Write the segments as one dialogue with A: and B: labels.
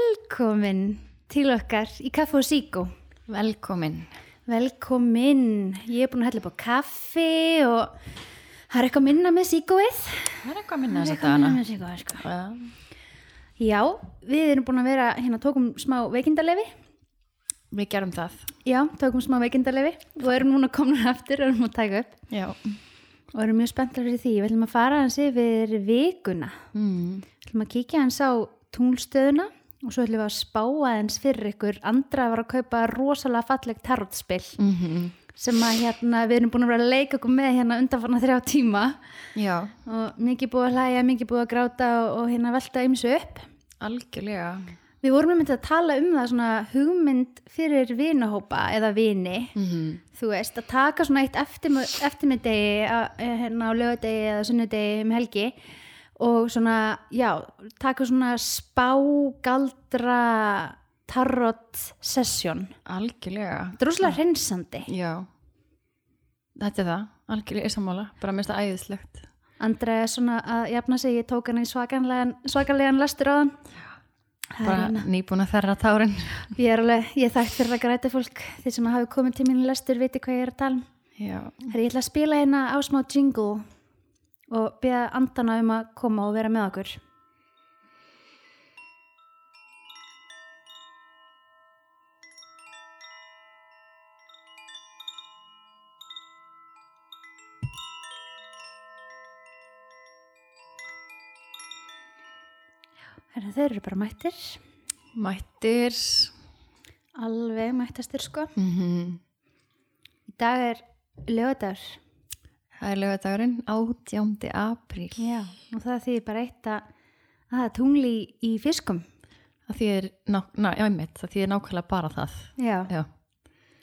A: velkomin til okkar í Kaffe og Síkó.
B: Velkomin.
A: Velkomin, ég er búin að hella upp á kaffi og það er eitthvað minna með Síkóið.
B: Það er eitthvað að minna
A: Það er
B: þess að
A: eitthvað minna
B: dana.
A: með Síkóið, sko.
B: Já.
A: Já, við erum búin að vera, hérna tókum smá veikindalefi.
B: Við gerum það.
A: Já, tókum smá veikindalefi og erum núna komin aftur, erum að taka upp
B: Já.
A: og erum mjög spenntar fyrir því. Við ætlum að fara hans yfir vikuna.
B: Mm.
A: Við ætlum að kíkja hans á tunglstöðuna og svo ætlum við að spá aðeins fyrir ykkur. Andra var að kaupa rosalega falleg tarotspill
B: Mm
A: sem að hérna, við erum búin að vera að leika okkur með hérna undanfarna þrjá tíma
B: Já,
A: og mikið búið að hlæja, mikið búið að gráta og, og hérna velta ymsu upp.
B: algjörlega.
A: Við vorum einmitt að tala um það svona hugmynd fyrir vinahópa eða vini,
B: Mm.
A: þú veist, að taka svona eitt eftir, eftirmiddegi á- eh, hérna á lögadegi eða sunnudegi um helgi og svona, já, taka svona spágaldra tarot session.
B: Algjörlega.
A: Þetta er rúslega hreinsandi.
B: Já. Þetta er það. Algjörlega er sammála. Bara mér finnst það æðislegt.
A: Andra er svona að jafna sig, ég tók hann í svakanlegan, svakanlegan lestur á hann.
B: Bara
A: hérna.
B: nýbúin að þerra tárin.
A: Ég er alveg, ég er þekkt fyrir að græta fólk, þeir sem hafi komið til mín í lestur viti hvað ég er að tala um.
B: Já.
A: Herri, ég ætla að spila hérna á smá jingle og beða andana um að koma og vera með okkur. Herra, þeir eru bara mættir,
B: Mættir.
A: alveg mættastir sko.
B: Mm
A: Í dag er lögadagur.
B: Það er lögadagurinn 18. apríl.
A: Já, og það þýðir bara eitt að að það er tungli í fiskum.
B: Það þýðir, ná, ná, já, einmitt, það þýðir nákvæmlega bara það.
A: Já,
B: Já.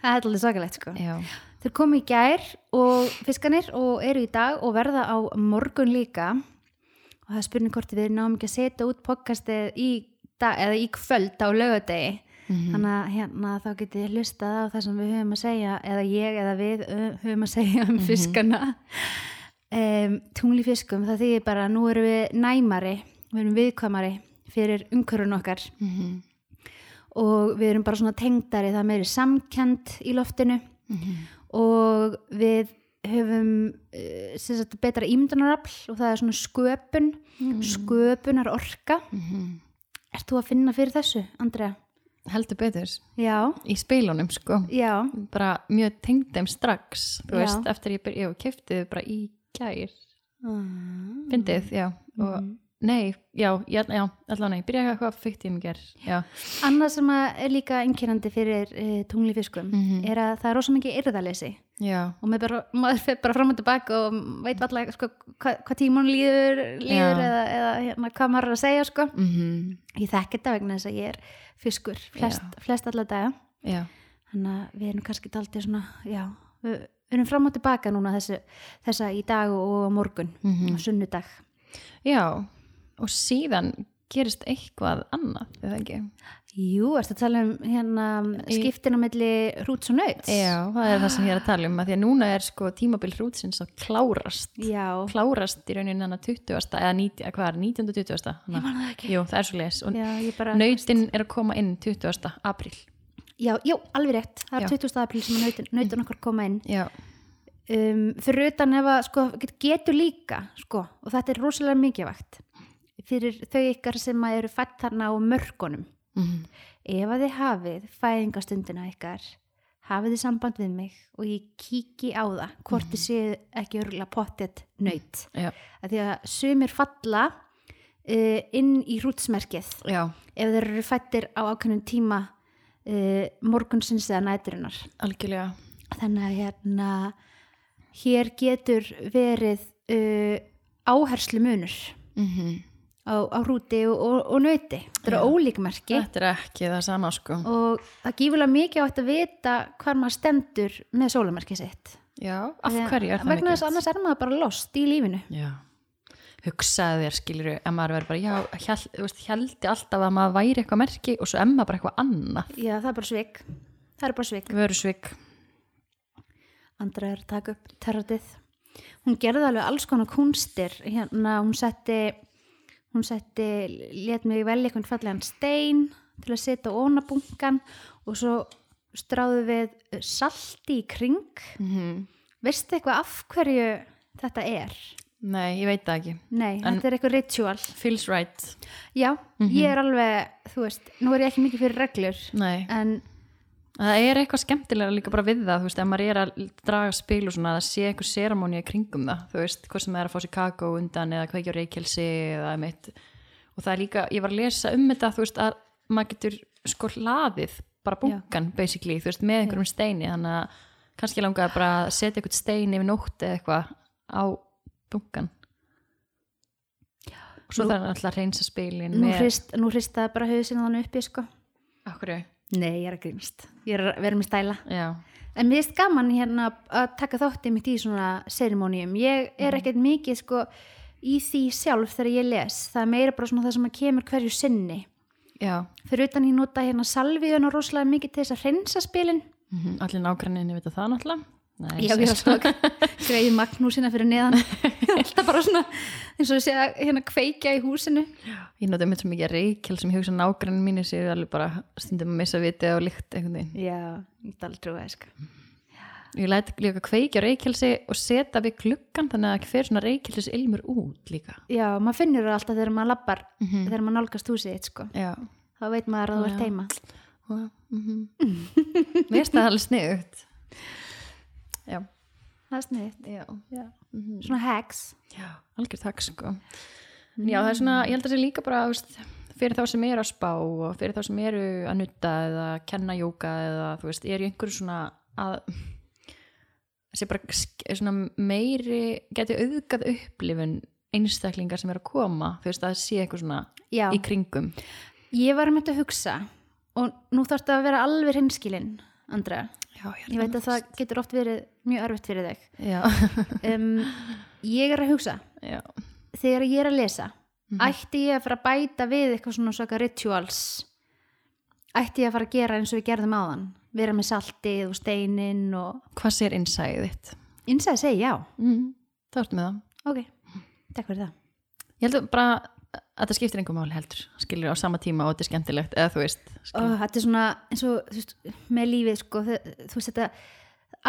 A: það er alveg svakalegt sko.
B: Já.
A: Þeir komu í gær og fiskanir og eru í dag og verða á morgun líka. Og það er spurning hvort við náum ekki að setja út podcastið í dag eða í kvöld á lögadegi. Þannig að hérna, þá getið þið hlustað á það sem við höfum að segja eða ég eða við ö, höfum að segja um fiskana. Um, tungli í fiskum, það þýðir bara að nú erum við næmari, við erum viðkvæmari fyrir umhverfun okkar
B: Mm -hmm.
A: og við erum bara svona tengdari, það er meiri samkend í loftinu
B: Mhm.
A: og við höfum uh, sagt, betra ímyndunarafl og það er svona sköpun,
B: Mm.
A: sköpunar orka. Ert þú að finna fyrir þessu, Andrea?
B: Mhm. Heldur betur.
A: Já,
B: Í spilunum, sko.
A: já,
B: bara mjög tengd þeim strax þú
A: Já.
B: veist, eftir ég byrja og kefti þau bara í gær
A: Ah.
B: fyndið, já
A: Mm.
B: og nei, já, já, já allan ég byrjaði eitthvað fyrkt í mér já,
A: Annað sem að er líka einkennandi fyrir uh, tunglifiskum
B: Mhm.
A: er að það er rosa mikið yrðalesi
B: já,
A: og maður, bara, maður fer bara fram og tilbaka og veit allega sko, hvað hva tíman líður, líður
B: Já.
A: eða, eða hérna, hvað maður er að segja sko.
B: mm
A: Ég þekki þetta vegna þess að ég er fiskur flest, flest alla daga
B: já,
A: þannig að við erum kannski daldið svona, já, við við erum fram og tilbaka núna þessu, þessa í dag og á morgun
B: Mhm.
A: og sunnudag.
B: já og síðan gerist eitthvað annað, eða ekki
A: Jú, ertu að tala um hérna skiptin á milli hrúts og nauts?
B: já, það er það sem ég er að tala um að því að núna er sko tímabil hrútsins að klárast
A: Já,
B: klárast í rauninni hann að 20. eða 90, hvað er 19. og 20.
A: ég
B: Hana.
A: man það ekki.
B: Jú, það er svo leis og
A: Já, ég bara,
B: nautin er að koma inn 20. apríl
A: já, já, alveg rétt. Það er
B: Já. Mhm.
A: 20. apríl sem nautin, nautin okkar koma inn.
B: já
A: um, fyrir utan ef að sko, get- getur líka sko, og þetta er rosalega mikilvægt fyrir þau ykkar sem að eru fætt þarna á mörkunum
B: mm.
A: ef að þið hafið fæðingastundina ykkar hafið þið samband við mig og ég kíki á það hvort þið séu ekki örgulega pottet nöyt
B: Mhm. Já,
A: af því að sumir falla uh, inn í hrútsmerkið
B: já,
A: ef þeir eru fættir á ákveðnum tíma uh, morgunsins eða næturinnar
B: algjörlega.
A: þannig að hérna hér getur verið uh, áherslu munur
B: Mhm.
A: á, á hrúti og, og, og nöti þetta eru ólíkmerki
B: Þetta er ekki það sama sko.
A: og það gífulega mikið átt að vita hvar maður stendur með sólamerki sitt
B: Já, af hverju er það
A: vegna þess að
B: mikilvægt?
A: annars er maður bara lost í lífinu
B: Já, hugsaði þér skilur ef maður verður bara, já, hjæl, þú veist, hældi alltaf að maður væri eitthvað merki og svo emma bara eitthvað annað.
A: já það er bara svik það er bara svik
B: Vörusvik.
A: Andra er að taka upp terratið. Hún gerði alveg alls konar kunstir, hérna hún setti, hún setti, let mig velja einhvern fallegan stein, til að setja ónabungan og svo stráðu við salti í kring
B: Mhm.
A: veistu eitthvað af hverju þetta er?
B: Nei, ég veit það ekki.
A: Nei,
B: En-
A: þetta er eitthvað ritual
B: Feels right.
A: Já, ég er alveg, þú veist nú er ég ekki mikið fyrir reglur
B: Nei.
A: en
B: Það er eitthvað skemmtilega líka bara við það, þú veist, ef maður er að draga spil og svona, að það sé eitthvað seramóni í kringum það, þú veist, hvort sem það er að fá sér kakó undan eða kveikja á reykjelsi eða mitt. Og það er líka, ég var að lesa um þetta, þú veist, að maður getur sko hlaðið, bara bunkan, basically, þú veist, með einhverjum steini, þannig að kannski langaði bara að setja eitthvað stein yfir nótt eða eitthvað á bunkan. Og svo
A: Nú-
B: það er alltaf að reynsa spilin
A: nú,
B: með...
A: hrist, nú hristaði bara hausinn þannig uppi sko
B: Akkur,
A: Nei, ég er að grínast, ég er að vera með stæla
B: já,
A: En mér finnst gaman hérna að taka þáttið mitt í svona seremónium. Ég er ekkert mikið sko í því sjálf þegar ég les. Það er meira bara svona það sem að kemur hverju sinni.
B: já,
A: Fyrir utan ég nota hérna salviðuna rosalega mikið til þess að hreinsa spilin.
B: mm allir nágranninni vita það náttúrulega. Nei,
A: Já, ég er svona greið Magnúsina fyrir neðan. Alltaf bara svona eins og sé að hérna kveikja í húsinu.
B: Ég notið mér svo mikið að reykjel sem ég hugsa nágrann mínu séu alveg bara stundum að missa vitið og lykt einhvern veginn.
A: Já, ég get aldrei að sko.
B: Ég læt líka kveikja reykjelsi og setja við gluggan þannig að hver svona reykjelsis ilmur út líka.
A: Já, maður finnur það alltaf þegar maður lappar,
B: Mhm.
A: þegar maður nálgast húsið þitt sko.
B: Já.
A: Þá veit maður að þú ert heima.
B: Og, mm -hmm. Mér staði alveg sniðugt. Já.
A: Það er sniðið.
B: Já. Já. Mm
A: Svona hacks.
B: Já, algjör takk sko. En já, það er svona, ég held að það sé líka bara þú veist, fyrir þá sem eru að spá og fyrir þá sem eru að nutta eða kenna jóka eða þú veist, er í einhverju svona að það sé bara sk- svona meiri geti auðgað upplifun einstaklingar sem eru að koma þú veist, að það sé eitthvað svona
A: Já.
B: í kringum
A: Ég var með að hugsa og nú þarf þetta að vera alveg hinskilinn, Andra.
B: Já,
A: Ég veit að það getur oft verið mjög erfitt fyrir þig.
B: Já,
A: Um, ég er að hugsa,
B: já,
A: þegar ég er að lesa, ætti ég að fara að bæta við eitthvað svona svaka rituals? Ætti ég að fara að gera eins og við gerðum áðan? Vera með saltið og steinin og...
B: hvað sér innsæðið þitt?
A: Innsæði segi já.
B: Mm, það ertu með það
A: Ok, takk fyrir það.
B: Ég held bara að það skiptir einhver máli heldur skilur á sama tíma og þetta er skemmtilegt eða þú veist,
A: Ó,
B: skilur,
A: þetta er svona eins og þú veist, með lífið sko, þe- þú veist þetta,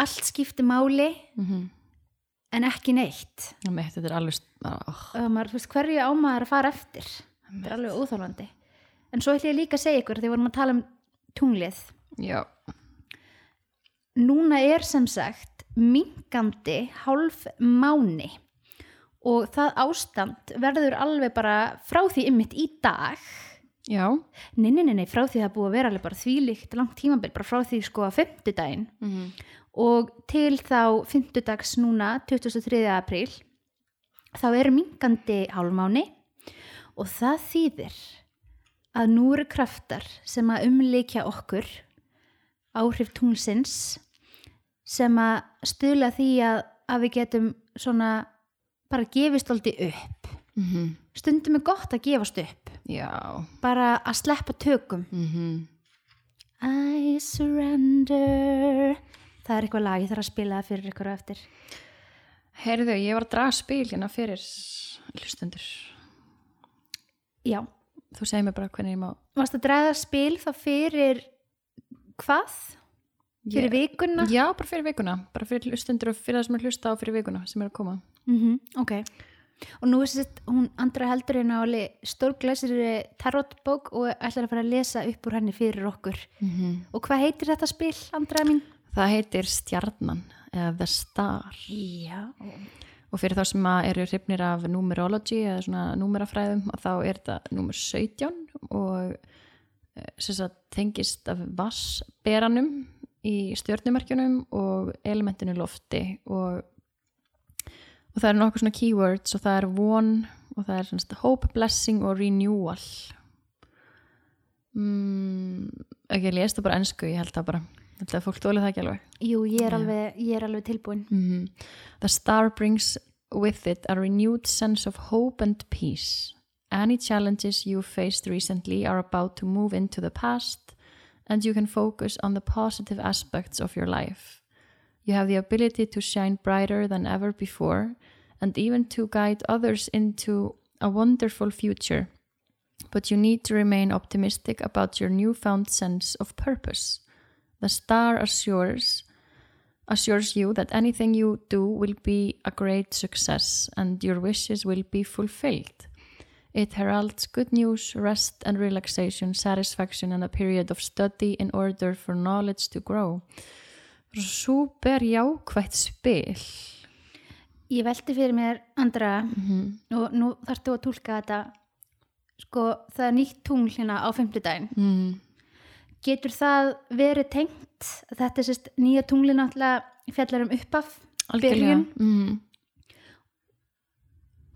A: allt skiptir máli
B: Mhm.
A: en ekki neitt.
B: oh. mitt, þetta er alveg oh,
A: og maður, þú veist, hverju á maður að fara eftir þetta er alveg óþálandi en svo ætlum ég líka að segja ykkur þegar við vorum að tala um tunglið
B: já,
A: núna er sem sagt minkandi hálf máni og það ástand verður alveg bara frá því ymmit í dag
B: já
A: nei, nei, nei, nei, frá því það er búið að vera alveg bara þvílíkt langt tímabil, bara frá því sko að fimmtudaginn
B: mm.
A: og til þá 5. dags núna 23. apríl þá er minkandi hálmáni og það þýðir að nú eru kraftar sem að umleikja okkur áhrif tunglsins sem að stuðla því að, að við getum svona bara gefist alltaf upp
B: -hmm.
A: stundum er gott að gefast upp
B: já
A: bara að sleppa tökum
B: mm -hmm.
A: I surrender það er eitthvað lag, ég þarf að spila það fyrir ykkur á eftir
B: heyrðu, ég var að draga spil hérna fyrir hlustundur
A: Já,
B: þú segir mér bara hvernig ég má
A: varst að draga spil þá fyrir hvað? Fyrir vikuna?
B: já, bara fyrir vikuna, bara fyrir hlustundur og fyrir það sem er að hlusta á fyrir vikuna sem er að koma
A: Mm Ok. Og nú er sett, hún andra heldur hérna áli stórglæsir tarotbók og ætlar að fara að lesa upp úr henni fyrir okkur.
B: mm -hmm.
A: Og hvað heitir þetta spil, andra mín?
B: það heitir Stjarnan eða The Star
A: Já.
B: og fyrir þá sem að eru hrifnir af numerology eða svona numerafræðum að þá er þetta numur 17 og eh, sem sagt tengist af vassberanum í stjörnumarkjunum og elementinu lofti og, og það eru nokkuð svona keywords og það er von og það er svona hope, blessing og renewal mm, ok, ég lest það bara ennsku, ég held það bara ég held að fólk tóli það ekki alveg
A: Jú, ég er, alveg, ég er alveg tilbúin.
B: -hmm. The star brings with it a renewed sense of hope and peace. Any challenges you faced recently are about to move into the past, and you can focus on the positive aspects of your life. You have the ability to shine brighter than ever before, and even to guide others into a wonderful future. But you need to remain optimistic about your newfound sense of purpose. The star assures assures you that anything you do will be a great success and your wishes will be fulfilled. It heralds good news, rest and relaxation, satisfaction and a period of study in order for knowledge to grow. Súper jákvætt spil.
A: Ég velti fyrir mér andra og nú þarf þú að tólka þetta sko það er nýtt tungl hérna á fimmtudaginn
B: Mm.
A: getur það verið tengt þetta er sérst nýja tungli náttúrulega fjallar um uppaf
B: Algjörlega. Mm.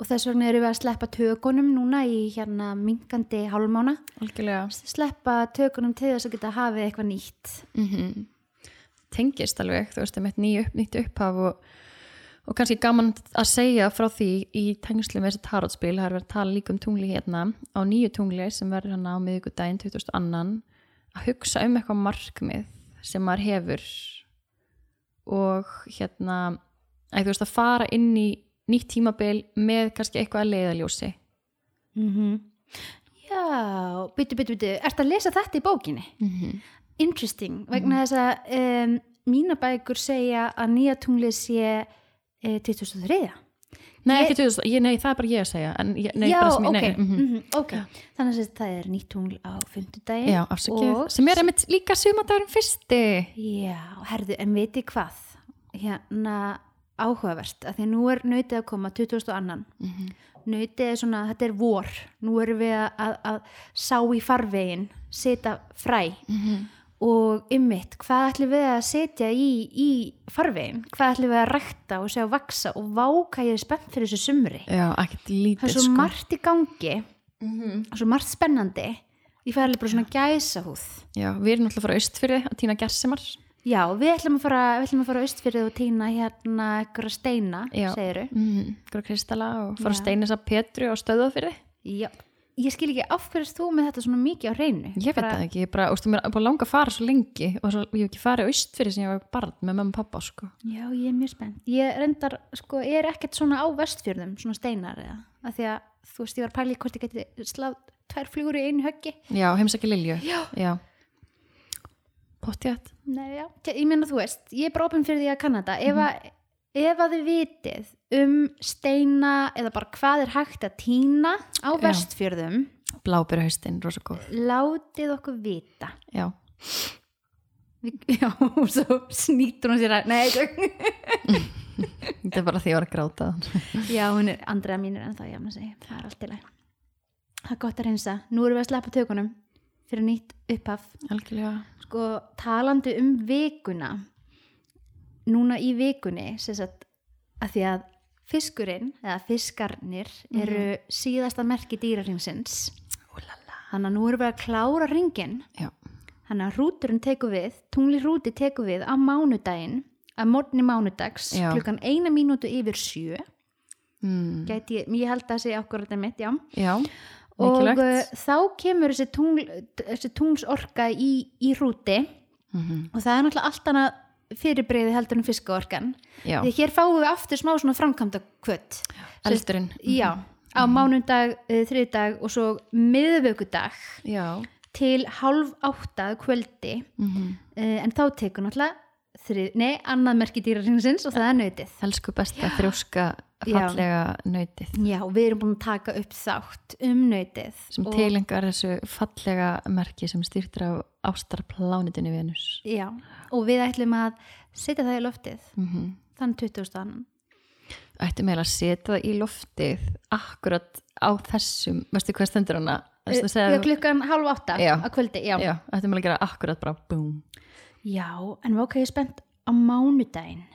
A: og þess vegna erum við að sleppa tökunum núna í hérna mingandi hálmána
B: Algjörlega.
A: sleppa tökunum til þess að geta hafið eitthvað nýtt
B: mm tengist alveg, þú veist, með nýju upp, nýtt upphaf og, og kannski gaman að segja frá því í tengslu með þessi tarotspil, það er verið að tala líka um tungli hérna á nýju tungli sem verður hann á miðvikudaginn 2002 að hugsa um eitthvað markmið sem maður hefur og hérna að þú veist að fara inn í nýtt tímabil með kannski eitthvað að leiðaljósi
A: mm já, byttu, byttu, byttu ert að lesa þetta í bókinni?
B: mm -hmm.
A: interesting, vegna
B: Mhm.
A: þess að um, mína bækur segja að nýja tungli sé eh, 2003
B: Nei,
A: Ég-
B: ekki 2000, ég, nei, það er bara ég að segja en, ég, nei,
A: já,
B: bara
A: ok,
B: sem ég- nei, mhm.
A: mhm, ok þannig að það er nýtt tungl á fimmtudaginn
B: Já, afsakið.
A: og
B: Sem er einmitt líka sumadagurinn fyrsti.
A: Já, herðu, en viti hvað? Hérna áhugavert, að því nú er nautið að koma 2002. Nautið er svona, þetta er vor, nú erum við að, að, að sá í farvegin, setja fræ og ymmit, hvað ætlum við að setja í, í farvegin? Hvað ætlum við að rækta og sjá vaksa og váka ég er spennt fyrir þessu sumri?
B: Já, ekkert
A: Það
B: lítið sko.
A: er svo margt í gangi, svo margt spennandi, ég fæði alveg bara svona gæsa húð.
B: Já, við erum náttúrulega frá Austfyrði að týna gersimar.
A: Já, við ætlum að fara, við ætlum að fara austfyrðið og týna hérna ykkur steina,
B: Já.
A: segiru.
B: Mm, Gróð Kristala og frá
A: Já.
B: Steinisa Petru og Stöðafyrði.
A: Já. Ég skil ekki, af hverju ert þú með þetta svona mikið á reynu?
B: Ég veit það ekki, ég bara, óstu, mér er bara langa að fara svo lengi og svo, ég hef ekki farið á Austfyrði sem ég var barn með mamma og pappa, sko.
A: Já, ég er mjög spennt. Ég reyndar, sko, ég er ekkert svona á vestfjörðum, svona steinar eða, af því að þú veist, ég var pælið hvort ég geti sláð tvær flugur í einu höggi.
B: Já, heimsækja Lilju.
A: Já.
B: Já. Pottjætt.
A: Nei, já, Te- ég meina þú veist, ég er bara opinn fyrir því að kanna þetta. Ef, að, ef að þið vitið um steina eða bara hvað er hægt að týna á
B: Já.
A: vestfjörðum,
B: Blábyrja haustinn, rosa góð.
A: látið okkur vita.
B: Já.
A: Já, og svo snýtur hún sér að Nei, tök.
B: Þetta er bara því ég var að gráta.
A: já, hún er andra mínir en þá jafn að segja Það er allt í lagi Það er gott að reynsa, nú erum við að sleppa tökunum fyrir nýtt upphaf
B: Algjörlega.
A: Sko, talandi um vikuna Núna í vikunni sem sagt, að því að fiskurinn eða fiskarnir eru síðasta merki dýraringsins
B: Úlala.
A: Þannig að nú erum við að klára ringin
B: Já.
A: Þannig að rúturinn tekur við, tungli rúti tekur við á mánudaginn, að morgni mánudags,
B: Já.
A: klukkan eina mínútu yfir sjö,
B: Mm.
A: gæti ég, ég held að segja okkur þetta mitt, já.
B: Já.
A: Og
B: Mikilvægt.
A: uh, þá kemur þessi, tungl, þessi tungsorka í, í rúti
B: Mm -hmm.
A: og það er náttúrulega allt annað fyrirbreyði heldur en fiskaorkan.
B: Já.
A: Því hér fáum við aftur smá svona framkvæmda kvött.
B: Eldurinn.
A: Já, á
B: Mhm.
A: mánudag, uh, þriðdag og svo miðvökudag
B: Já.
A: til hálf áttað kvöldi.
B: Mm
A: uh, en þá tekur náttúrulega þrið, nei, annað merki dýraringsins og það er nautið.
B: Elsku besta þrjóska
A: Já.
B: fallega nautið
A: Já, og við erum búin að taka upp þátt um nautið.
B: sem
A: og,
B: tilengar þessu fallega merki sem styrtir af ástarplánitinu Venus.
A: Já, og við ætlum að setja það í loftið,
B: Mm
A: þann 20. annan.
B: Ættum eiginlega að setja það í loftið akkurat á þessum, veistu hvað stendur hana? Veistu að
A: Eh, Já,
B: segja-
A: klukkan hálf átta
B: Já.
A: á kvöldi, já.
B: Já, ættum eiginlega að gera akkurat bara búm.
A: Já, en ok, ég er spennt á mánudaginn.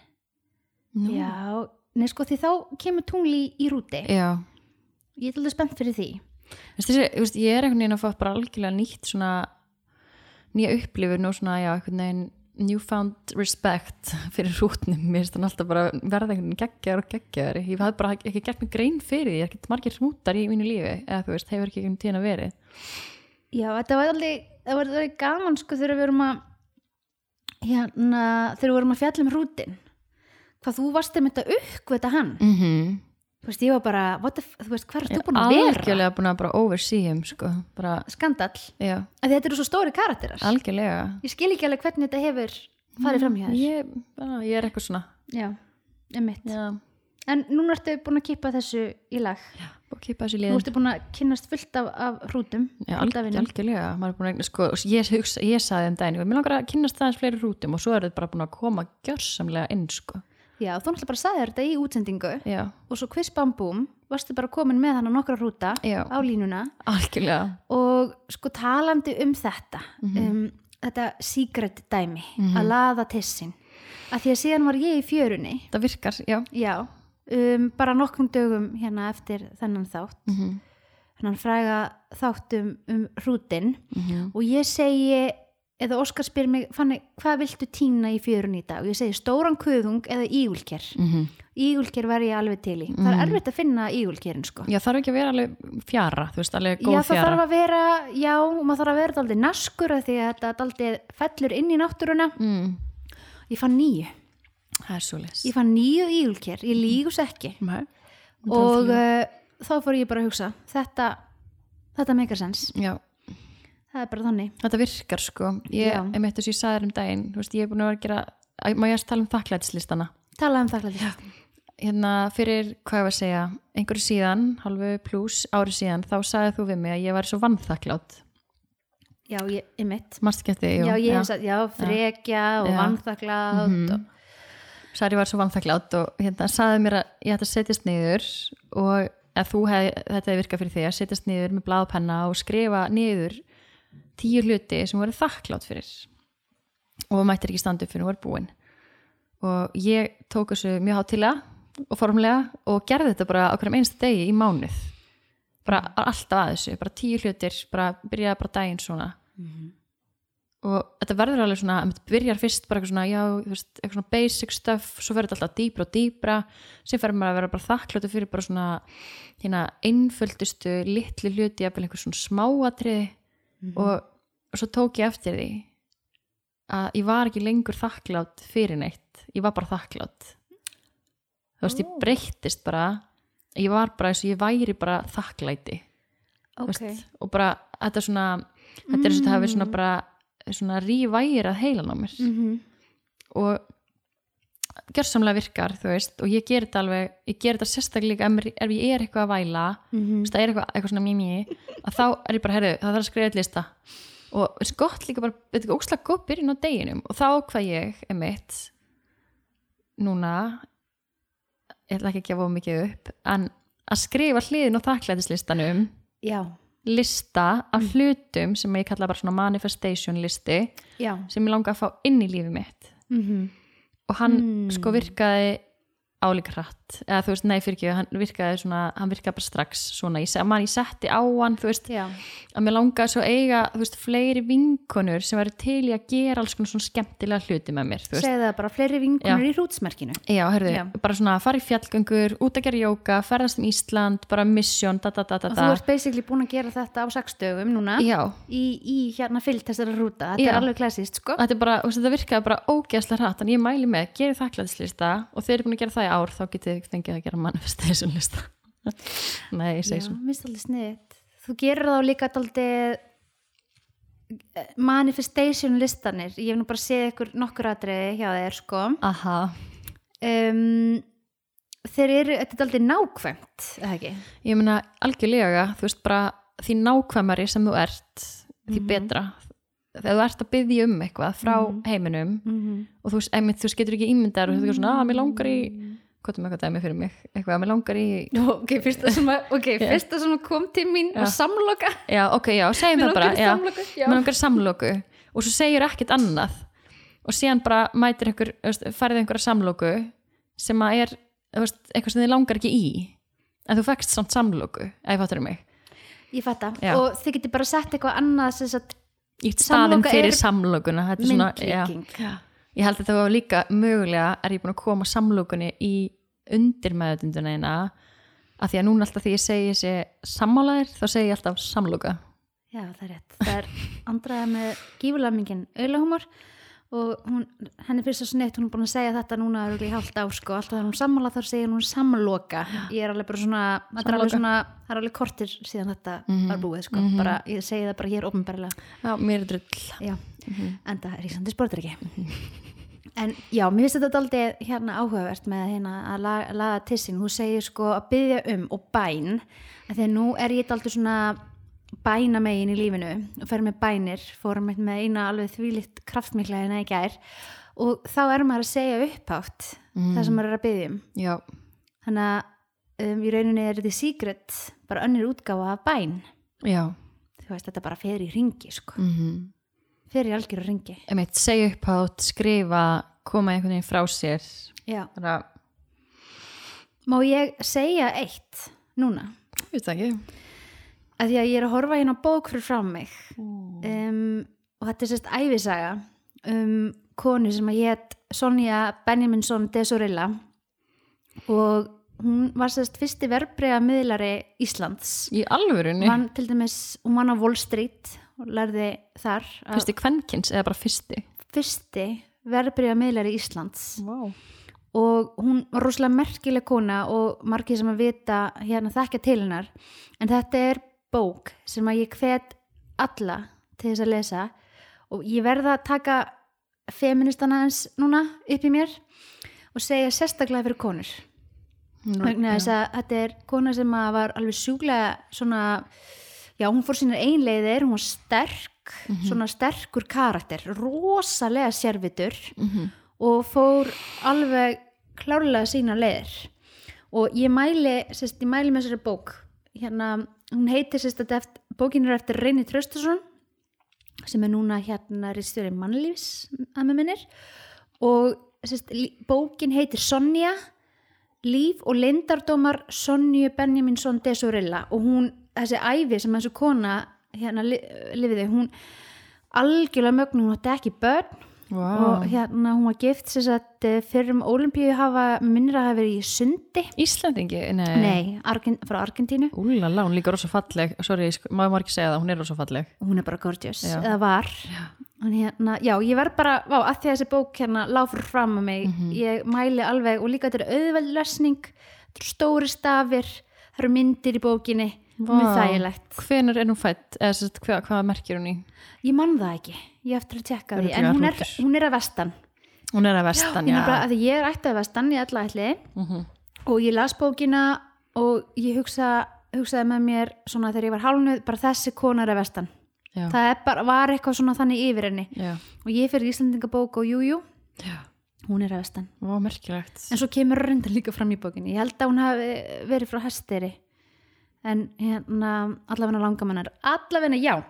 B: Nú.
A: Já, nei sko, því þá kemur tungli í rúti.
B: Já.
A: Ég er alveg spennt fyrir því.
B: Veistu, þessi, þú veist, ég er einhvern veginn að fá bara algjörlega nýtt svona nýja upplifun og svona, já, einhvern veginn newfound respect fyrir rútnum mér finnst hann alltaf bara verða einhvern veginn geggjar og geggjar ég hafði bara ekki gert mig grein fyrir því ekkert margir rútar í mínu lífi eða þú veist, hefur ekki einhvern tíðan að verið
A: Já, þetta var alveg, það var alveg gaman sko þegar við vorum að hérna, þegar við vorum að fjalla um rútin hvað þú varst um þetta aukvita hann
B: mm -hmm.
A: þú veist, ég var bara, what the, f- þú veist, hvað er þú búin að vera?
B: algjörlega búin að bara oversee him sko. bara,
A: Skandall,
B: já,
A: að þetta eru svo stóri karakterar.
B: algjörlega
A: Ég skil ekki alveg hvernig þetta hefur farið fram hjá þér.
B: ég, bara, ég er eitthvað svona
A: Já, emitt.
B: já,
A: En núna ertu búin að kippa þessu í lag.
B: og kýpa þessi
A: Nú
B: liðin
A: ertu búin að kynnast fullt af, af hrútum.
B: Já,
A: fullt af
B: alg-
A: vinum.
B: algjörlega, maður er búin að eigna sko, og ég, hugsa, ég saði um daginn, ég mér langar að kynnast aðeins fleiri rútum og svo eru þetta bara búin að koma gjörsamlega inn, sko
A: Já, þú náttúrulega bara saði þetta í útsendingu
B: já,
A: og svo quiz bam búm, varstu bara komin með hann á nokkra hrúta
B: Já.
A: á línuna
B: algjörlega
A: og sko talandi um þetta,
B: Mhm.
A: um, þetta secret dæmi, að laða tessin. Að því að síðan var ég í fjörunni,
B: það virkar, já
A: já, um, bara nokkrum dögum hérna eftir þennan þátt,
B: mm -hmm.
A: þennan fræga þáttum um hrútin
B: Mm.
A: og ég segi eða Óskar spyr mig, fannig, hvað viltu týna í fjörunni í dag? Og ég segi stóran kuðung eða ígulker. Ígulker var ég alveg til í. Það er
B: Mhm.
A: erfitt að finna ígulkerin sko.
B: já, þarf ekki að vera alveg fjara þú veist, alveg góð
A: Já, það
B: fjara
A: þarf að vera, já, maður þarf að vera daldið naskur af því að þetta daldið fellur inn í náttúruna.
B: mm.
A: Ég fann nýju,
B: það er svo les
A: ég fann nýju ígulker, ég lígus ekki. Og uh, þá fór ég bara að hugsa, þetta, þetta meikar sens,
B: já,
A: það er bara þannig.
B: þetta virkar, sko ég,
A: Já.
B: einmitt þess að ég saði þér um daginn þú veist, ég er búin að vera að gera, Æ, má ég að tala um þakklætslistana
A: Talað um þakklæðist.
B: hérna fyrir, hvað ég var að segja einhverju síðan, halvu pluss ári síðan, þá sagði þú við mig að ég var svo vannþakklátt,
A: Já, ég, ég mitt.
B: marst ekki eftir því, jú.
A: Já, ég hef sagt, já, frekja og
B: Já. Mhm.
A: vannþakklátt og
B: Sari var svo vannþakklátt og hérna saði mér að ég ætti að setjast niður og að þú hef, þetta hefði virkað fyrir því að setjast niður með bláðpenna og skrifa niður tíu hluti sem voru þakklátt fyrir og mættir ekki standa upp fyrir hún var búin og ég tók þessu mjög hátilega og formlega og gerði þetta bara á hverjum einsta degi í mánuð bara alltaf að þessu, bara tíu hlutir bara byrjaði bara daginn svona Mhm. og þetta verður alveg svona að byrjar fyrst bara eitthvað svona, já, þú veist, eitthvað svona basic stuff svo verður þetta alltaf dýpra og dýpra sem fer maður að vera bara þakkláttu fyrir bara svona hérna einföldustu litlu hluti, jafnvel einhver svona smáatriði
A: Mhm.
B: og, og svo tók ég eftir því að ég var ekki lengur þakklátt fyrir neitt, ég var bara þakklátt þú veist, ég
A: Ó.
B: breyttist bara ég var bara eins og ég væri bara þakklæti
A: ok.
B: okay. og bara þetta er svona þetta er eins og þetta hafi
A: Mm.
B: svona bara svona rýværað heilan á mér
A: Mhm.
B: og gjörsamlega virkar þú veist og ég ger þetta alveg ég ger þetta sérstaklega ef, mér- ef ég er eitthvað að væla þú
A: Mhm.
B: veist, það er eitthvað, eitthvað svona mimi að þá er ég bara, herðu, það þarf að skrifa eitt lista og veist, gott líka bara þetta er óslega góð byrjun á deginum og þá hvað ég er mitt núna ég ætla ekki að gefa of mikið upp en að skrifa hliðin og þakklæðislistanum
A: Já,
B: lista af
A: Mm.
B: hlutum sem ég kalla bara svona manifestation listi
A: já.
B: sem ég langa að fá inn í lífið mitt
A: Mhm.
B: og hann
A: Mm.
B: sko virkaði álíka hratt eða þú veist, nei fyrir ekki, hann virkaði svona hann virkaði bara strax svona, ég, se- man, ég setti á hann, þú veist,
A: Já,
B: að mér langaði svo að eiga, þú veist, fleiri vinkonur sem væri til í að gera alls konar svona skemmtilega hluti með mér, þú veist
A: segðu það bara fleiri vinkunur í hrútsmerkinu.
B: Já, hörðu,
A: Já.
B: bara svona að fara í fjallgöngur, út að gera jóka, ferðast um Ísland, bara mission, da da da da
A: Og
B: da.
A: þú ert basically búin að gera þetta á sex dögum núna
B: Já,
A: í, í hérna fyllt þessara rúta. Þetta
B: Já.
A: er alveg klassist, sko.
B: þetta, er bara, þú veist, þetta virkaði bara ógeðslega hratt en ég mæli með, gerir þakklæðislista og þeir eru búin að gera það í ár, þá getið þið fengið að gera manifestation lista Nei, ég segi
A: Já,
B: svona
A: minnst alveg sniðið. Þú gerir þá líka daldið manifestation listanir. Ég hef nú bara séð ykkur nokkur atriði hjá þeir, sko.
B: Aha,
A: Um, þeir eru, þetta er daldið nákvæmt, eða ekki?
B: ég meina algjörlega, þú veist bara því nákvæmari sem þú ert
A: Mhm.
B: því betra, þegar þú ert að byggja um eitthvað frá heiminum
A: Mm -hmm.
B: og þú, veist, einmitt, þú veist, getur ekki ímyndar og þú veist svona, að mér langar í hvað er með eitthvað dæmi fyrir mig, eitthvað, mér langar í
A: Ok, fyrsta sem, að, okay,
B: Já.
A: fyrsta sem að kom til mín
B: Já.
A: var samloka.
B: já, ok, já, segjum
A: Mig
B: það bara
A: langar í
B: já.
A: samloku, já.
B: með einhver samlóku og svo segir ekkert annað og síðan bara mætir einhver þú veist, færið einhverja samlóku sem að er þú veist, eitthvað sem þið langar ekki í en þú fækst samt samlóku ef fattur mig
A: Ég fatta.
B: Já.
A: Og þið getur bara sett eitthvað annað sem sagt
B: í staðin
A: Samloka
B: fyrir
A: er
B: samlókuna þetta er svona, já,
A: myndlíking. Já.
B: ég held að það var líka mögulega er ég búin að koma samlókunni í undir meðutunduna eina af því að núna alltaf því ég segi þessi sammálaðir þá segi ég alltaf samlóka
A: það er rétt. Það er andraða með gífurlammingin auðlahumor og hún, henni finnst svo snitt, hún er búin að segja þetta núna örugglega í hálft á sko, alltaf þegar hún sammála þar segir hún samloka ég er alveg bara svona, þetta er alveg
B: Samloka. Mhm.
A: svona það er alveg kortir síðan þetta var búið sko, bara, ég segi það bara hér ofnbærilega
B: Já, mér er drull.
A: já,
B: Mhm.
A: en það er ríksandi sportir ekki en já, mér finnst þetta aldrei hérna áhugavert með hérna að laga, laga tissin, hún segir sko að byggja um og bæn, af því að nú er ég aldrei svona bæna megin í lífinu og fer með bænir, fórum með, með eina alveg þvílitt kraftmikla hérna í gær og þá er maður að segja upphátt það sem maður er að byggja um
B: Já,
A: þannig að um, í rauninni er þetta secret, bara önnur útgáfa af bæn,
B: já.
A: þú veist þetta bara fer í ringi sko,
B: Mm
A: fer í algjöru ringi
B: Einmitt, segja upp átt, skrifa, koma einhvern veginn frá sér.
A: já
B: Bara,
A: Má ég segja eitt núna?
B: ég veit það ekki.
A: Af því að ég er að horfa hérna á bók fyrir fram mig um, og þetta er sérst æfisaga um konu sem að hétt Sonja Benjaminsson Desurilla og hún var sérst fyrsti verbreyða miðlari Íslands.
B: Í alvörunni,
A: Vann til dæmis, hún vann á Wall Street og lærði þar að
B: fyrsti kvenkins eða bara fyrsti.
A: fyrsti verbreyða miðlari Íslands.
B: Vá.
A: og hún var rosalega merkileg kona og margir sem að vita hérna þekka til hennar en þetta er bók sem að ég hvet alla til þess að lesa og ég verða að taka feministana hans núna upp í mér og segja sérstaklega fyrir konur vegna þess að þetta er kona sem að var alveg sjúklega svona já, hún fór sínar einleiðir, hún var sterk svona sterkur karakter rosalega sérvitur
B: Mhm.
A: og fór alveg klárlega sína leiðir og ég mæli, sérst, ég mæli með þessari bók hérna, hún heitir sérst að eft, bókin er eftir Reyni Tröstason sem er núna hérna ristjóri mannlífs að með minnir og sérst, lí- bókin heitir Sonja Líf og lindardómar Sonju Benjaminsson Desurilla og hún, þessi æfi sem þessu kona hérna li, lifiði, hún algjörlega mögnu, hún átti ekki börn
B: Vá.
A: og hérna hún var gift sem sagt eh, fyrrum olimpíu hafa minnir að hafa verið í sundi
B: Íslandingi, nei.
A: nei, Argen, frá Argentínu
B: Úlala, hún er líka rosa falleg. Sorry, ég sk- má maður ekki segja það, hún er rosa falleg.
A: hún er bara gorgeous,
B: Já.
A: eða var já. Hérna, já, ég verð bara, vá, að því að þessi bók hérna láfur fram að mig, ég mæli alveg og líka þetta er auðveld lesning þetta eru stóri stafir það eru myndir í bókinni, mjög þægilegt
B: Hvenær er hún fætt? Eða sérst, hvað, hvað merkir hún í?
A: ég man það ekki, ég hef eftir að tjekka því
B: Örugglega
A: en hún er,
B: hrútur.
A: hún er að vestan
B: Hún er að
A: ég,
B: vestan, já.
A: nefnilega, af því ég er ætti að vestan, ég ætla ætli
B: Mhm.
A: og ég las bókina og ég hugsa, hugsaði með mér svona þegar ég var hálnuð, bara þessi kona er að vestan
B: Já.
A: það er bara, var eitthvað svona þannig yfir henni
B: Já.
A: og ég fyrir Íslandingabók og jújú, jú,
B: Já.
A: hún er að vestan
B: Vá, merkilegt.
A: en svo kemur reynda líka fram í bókinni ég held að hún hafi verið frá hesteri en hérna allavegna langamennar, allavegna já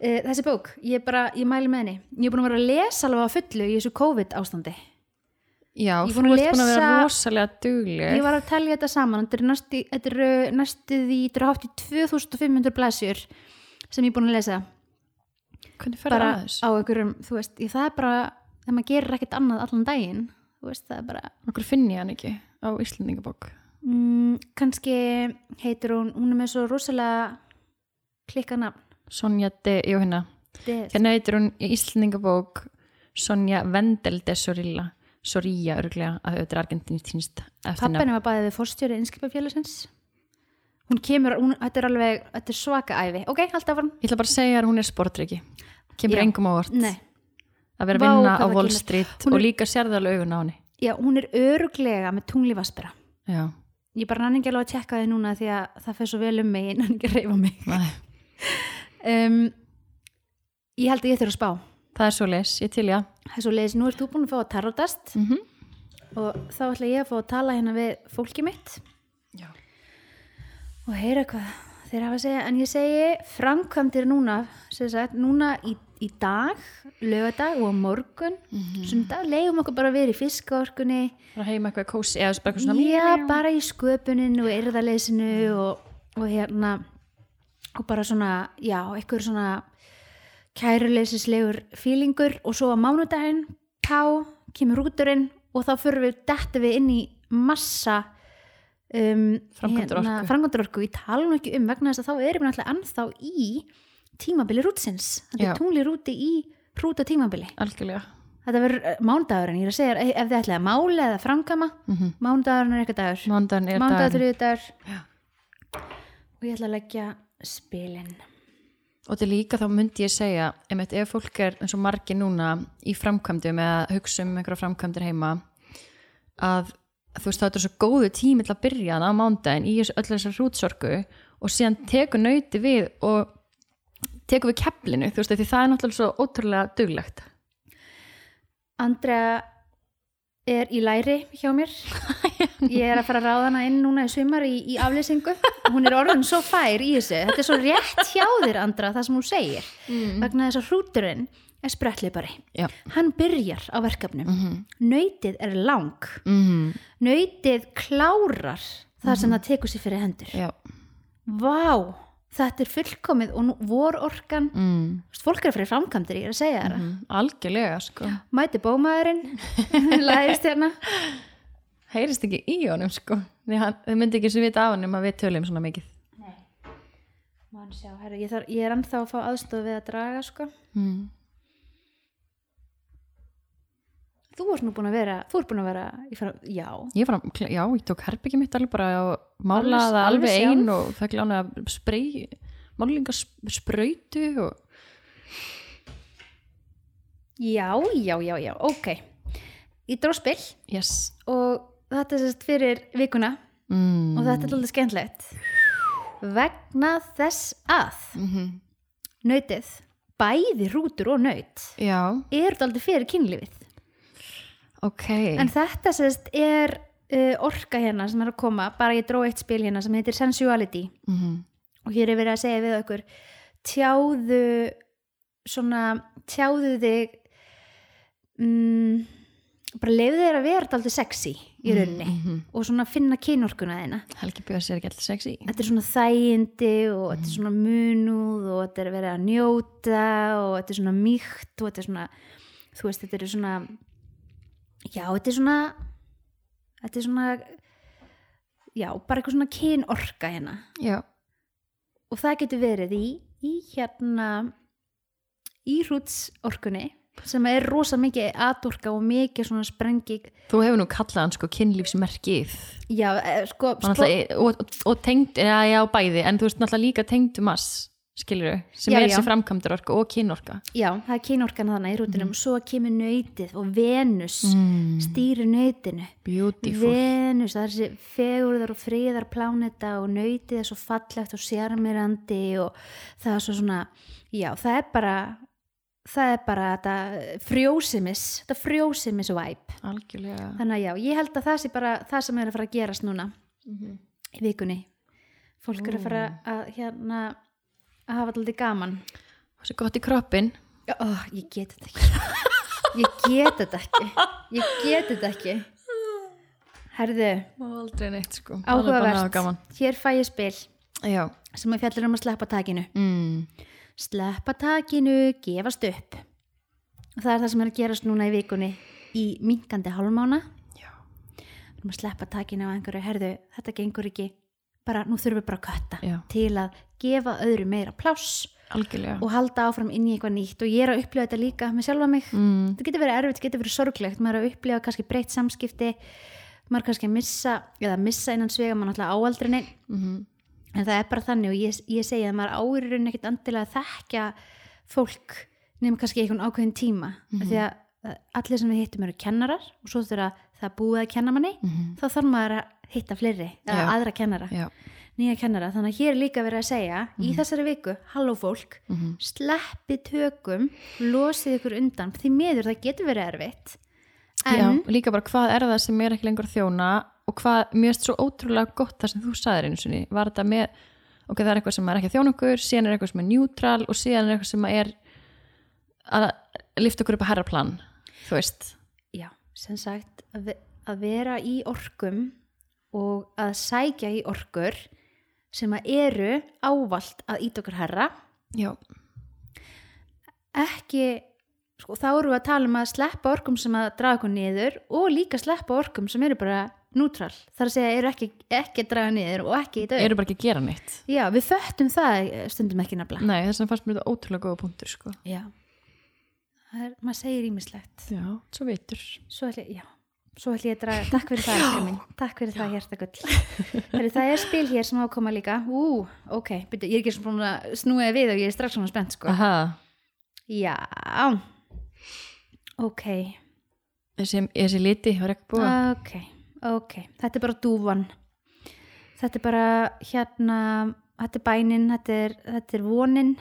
A: e, þessi bók, ég bara, ég mæli með henni ég er búin að vera að lesa alveg á fullu í þessu COVID ástandi
B: Já,
A: Ég
B: þú
A: er
B: ert
A: búin
B: búin
A: að
B: að
A: lesa-
B: vera rosalega dugleg.
A: ég var að telja þetta saman þetta eru næstu, þetta eru næstu því þetta eru hátt í 2500 blæsjur sem ég er búin að lesa
B: Hvernig fer það
A: bara
B: að
A: á einhverjum, þú veist, ég, það er bara þegar maður gerir ekkert annað allan daginn þú veist, það er bara
B: Okkur finn ég hann ekki á Íslandingabók.
A: Mm, kannski heitir hún, hún er með svo rosalega klikka nafn.
B: Sonja de, jú hérna.
A: Des.
B: Hérna heitir hún í Íslandingabók Sonja Vendel de Sorilla. Sorilla örglega að þetta er argentínstínst eftir nafn.
A: Pappinu var bæðið við fórstjóri innskipafélagsins. Hún kemur, hún, þetta er alveg, þetta er svaka æfi. Ok, halda áfram.
B: Ég ætla bara að segja að hún er sportryggi. Kemur
A: Já.
B: engum á vort.
A: Nei,
B: Að vera
A: Vá,
B: að vinna
A: hvað
B: á
A: það
B: Wall
A: kemur.
B: Street
A: Hún er-
B: og líka sérðarlega augun á henni.
A: já, hún er öruglega með tungli vaspera.
B: Já.
A: Ég bara nann ekki alveg að tjekka þið núna því að það fer svo vel um mig, ég nann ekki að reyfa mig.
B: Nei.
A: Um, ég held að ég þurf að spá.
B: Það er svo les, ég til já.
A: Það er svo leiðis, nú ert þú búin að fá að tarotast og þá ætla ég að fá að tala hérna við fólkið mitt.
B: Já.
A: og heyra hvað þeir hafa að segja en ég segi framkvæmdir núna sem sagt, núna í, í dag lögadag og á morgun sundag, leiðum okkur bara að vera í fiskaorkunni
B: Það heima eitthvað kósi eða bara eitthvað svona
A: já, bara í sköpuninu og erðaleysinu og, og hérna og bara svona, já, einhver svona kæruleysislegur fílingur og svo á mánudaginn þá kemur rúturinn og þá förum við detta við inn í massa um,
B: Framkvæmdarorku.
A: framkvæmdarorku, ég tala nú ekki um vegna þess að þá erum við náttúrulega ennþá í tímabili rútsins, þetta
B: Já.
A: er tungli rúti í rúta tímabili
B: Algjörlega.
A: Þetta verður mándagurinn, ég er að segja þér, ef- ef þið ætlaði að mála eða framkama, mm -hmm. mándagurinn er eitthvað dagur.
B: Mándan er
A: Mándagurinn þriðið
B: dagurinn.
A: dagur. Og ég ætla að leggja spilin.
B: og til líka þá myndi ég segja einmitt, ef fólk er eins og margir núna í framkvæmdum eða hugsa um einhverja framkvæmdur heima að þú veist þá þetta er svo góðu tími til að byrja það á mándaginn í þessu- öllu þessar hrútsorku og síðan tekur nöyti við og tekur við keflinu þú veist af því það er náttúrulega svo ótrúlega duglegt
A: Andrea er í læri hjá mér. Ég er að fara að ráða hana inn núna í sumar í, í aflýsingu. Hún er orðin svo fær í þessu. Þetta er svo rétt hjá þér, Andra, það sem hún segir. Mm.
B: Mhm.
A: Vegna þess að hrúturinn er spretlipari.
B: Já.
A: Hann byrjar á verkefnum. Nautið er lang.
B: Mm,
A: Nautið klárar þar sem það tekur sér fyrir hendur.
B: já,
A: Vá, þetta er fullkomið og nú, vororkan.
B: mm,
A: Þú veist, Fólk er fyrir framkvæmdir, ég er að segja þér það
B: mm, algjörlega sko
A: mæti bómaðurinn læðist hérna
B: heyrist ekki í honum sko því hann, þau myndi ekki sem vita af honum að við tölum svona mikið
A: Man sjá, herri, ég, þarf, ég er ennþá að fá aðstof við að draga sko.
B: mm.
A: þú ert nú búin að vera þú ert búin að vera ég fara, já,
B: Ég var að, já, ég tók herbyggi mitt alveg bara og málaði það
A: alveg
B: alveg
A: sjálf?
B: einn og fekk lána að sprey, málinga spröytu og
A: já, já, já, já ok, ég dró spil
B: yes.
A: og þetta er sérst fyrir vikuna
B: Mm.
A: og þetta er alltaf skemmtilegt vegna þess að
B: Mhm.
A: nautið, bæði rútur og naut
B: Já,
A: eru alltaf fyrir kynlífið
B: ok.
A: En þetta sérst er uh, orka hérna sem er að koma, bara ég dró eitt spil hérna sem heitir Sensuality
B: Mhm.
A: og hér er verið að segja við okkur tjáðu svona, tjáðu þig mm, bara leiðu þér að vera alltaf sexy í rauninni og svona finna kynorkuna þeina
B: Helgi Björns er ekki alltaf sexy.
A: þetta er svona þægindi og þetta er svona munúð og þetta er verið að njóta og þetta er svona mýkt og þetta er svona þú veist, þetta er svona já, þetta er svona þetta er svona já, bara eitthvað svona kynorka hérna
B: Já,
A: og það getur verið í, í hérna í hrútsorkunni sem er rosa mikið atorka og mikið svona sprengi
B: þú hefur nú kallað hann sko kynlífsmerkið.
A: já, eh, sko,
B: Hann
A: sko
B: alltaf, og, og, og tengd, já, já, bæði, en þú veist náttúrulega líka tengd um mass, skilur sem
A: Já,
B: er
A: já.
B: sem framkvæmdur orka og kynorka.
A: já, það er kynorkan þannig í hrútinum og svo kemur nöytið og venus
B: Mm.
A: stýri nöytinu
B: Beautiful.
A: Venus, það er þessi fegurðar og fríðar pláneta og nöytið er svo fallegt og sérmirandi og það er svo svona, já, það er bara það er bara þetta frjósimis, þetta frjósimis væp.
B: Algjörlega.
A: Þannig að já, ég held að það sé bara það sem er að fara að gerast núna í vikunni. Fólk er að fara að hérna að hafa alltaf gaman.
B: Það er svo gott í kroppin.
A: Já, ó, ég get þetta ekki. Ég get þetta ekki. Ég get þetta ekki. Herðu,
B: Má aldrei neitt sko Alveg bara hafa
A: áhugavert
B: gaman.
A: hér fæ ég spil
B: Já
A: sem að fjallar um að sleppa takinu
B: mm.
A: sleppa takinu, gefast upp og það er það sem er að gerast núna í vikunni í minkandi hálmána
B: Já.
A: um að sleppa takinu á einhverju herðu, þetta gengur ekki bara nú þurfum við bara að kötta
B: Já.
A: til að gefa öðru meira pláss
B: Algjörlega
A: og halda áfram inn í eitthvað nýtt og ég er að upplifa þetta líka með sjálfa mig
B: mm.
A: þetta getur verið erfitt, þetta getur verið sorglegt maður er að upplifa kannski breytt samskipti maður er kannski að missa eða missa innan svega maður náttúrulega áaldrinni
B: Mm
A: en það er bara þannig og ég, ég segi að maður áurinn ekkert andilega að þekkja fólk nefnum kannski einhvern ákveðin tíma mm því
B: Mhm.
A: að eh, allir sem við hittum eru kennarar og svo þegar það búið að kenna manni þá þarf maður að hitta fleiri eða
B: Mhm. Já.
A: aðra kennara,
B: Já
A: nýja kennara þannig að hér er líka verið að segja í þessari viku, halló fólk
B: Mhm.
A: sleppi tökum, losið ykkur undan því miður það getur verið erfitt
B: Já,
A: en
B: líka bara hvað er það sem er ekki lengur að þjóna og hvað, mér finnst svo ótrúlega gott það sem þú sagðir einu sinni, var þetta með ok, það er eitthvað sem er ekki að þjóna okkur síðan er eitthvað sem er njútral og síðan er eitthvað sem er að lifta okkur upp að herra plan, þú veist
A: Já, sem sagt að ve- að vera í orkum og að sækja í orkur sem að eru ávalt að ít okkur herra
B: Já,
A: ekki, sko, þá eru við að tala um að sleppa orkum sem að draga okkur niður og líka sleppa orkum sem eru bara nútral, þar að segja eru ekki, ekki að draga niður og ekki í dag
B: eru bara ekki að gera neitt
A: Já, við föttum það eh, stundum ekki nefnilega
B: Nei, þess að fannst mér þetta ótrúlega góða punktur sko.
A: Já það er, maður segir ímislegt
B: Já, svo veitur.
A: svo ætli, já, svo ætli ég að draga takk fyrir það, ekki minn, takk fyrir það hjertagull Heru, það er spil hér sem á að koma líka ú, ok, byrju, ég er ekki svona búin að snúið við og ég er strax svona spennt sko
B: Aha,
A: já, ok
B: þessi, þessi liti, var ekki búið.
A: ok, ok þetta er bara dúvan þetta er bara hérna þetta er bænin, þetta er, þetta er vonin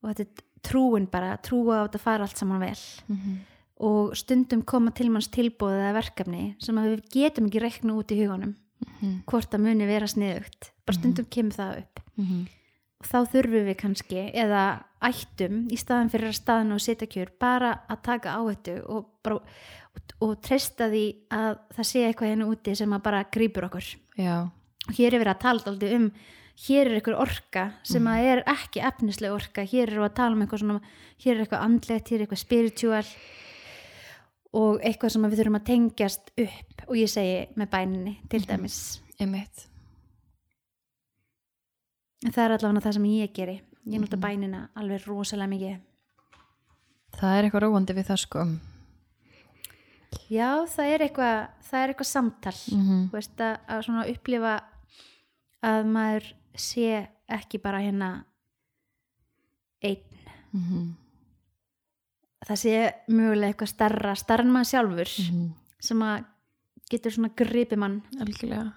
A: og þetta er trúin bara, trúa á þetta fara allt saman vel mhm, og stundum koma til manns tilbúið eða verkefni sem að við getum ekki reikna út í hugunum hvort að muni vera sniðugt bara stundum kemur það upp og þá þurfum við kannski eða ættum í staðan fyrir að staðan og setja kjör bara að taka á þetta og, bara, og, og treysta því að það sé eitthvað henni úti sem að bara grýpur okkur
B: Já,
A: og hér er verið að tala alltaf um hér er eitthvað orka sem að er ekki efnisleg orka, hér er að tala um eitthvað svona, hér er eitthvað andlegt, hér er eitthvað spiritual og eitthvað sem að við þurfum að tengjast upp og ég segi með bæninni til dæmis
B: einmitt.
A: en það er allavega það sem ég geri ég nota bænina alveg rosalega mikið
B: Það er eitthvað róandi við það sko.
A: já það er eitthvað það er eitthvað samtal
B: Mm.
A: þú veist að, að svona upplifa að maður sé ekki bara hérna einn
B: Mhm,
A: það sé mögulega eitthvað starra, starra en maður sjálfur
B: Mhm.
A: sem að getur svona gripi mann
B: Algjörlega.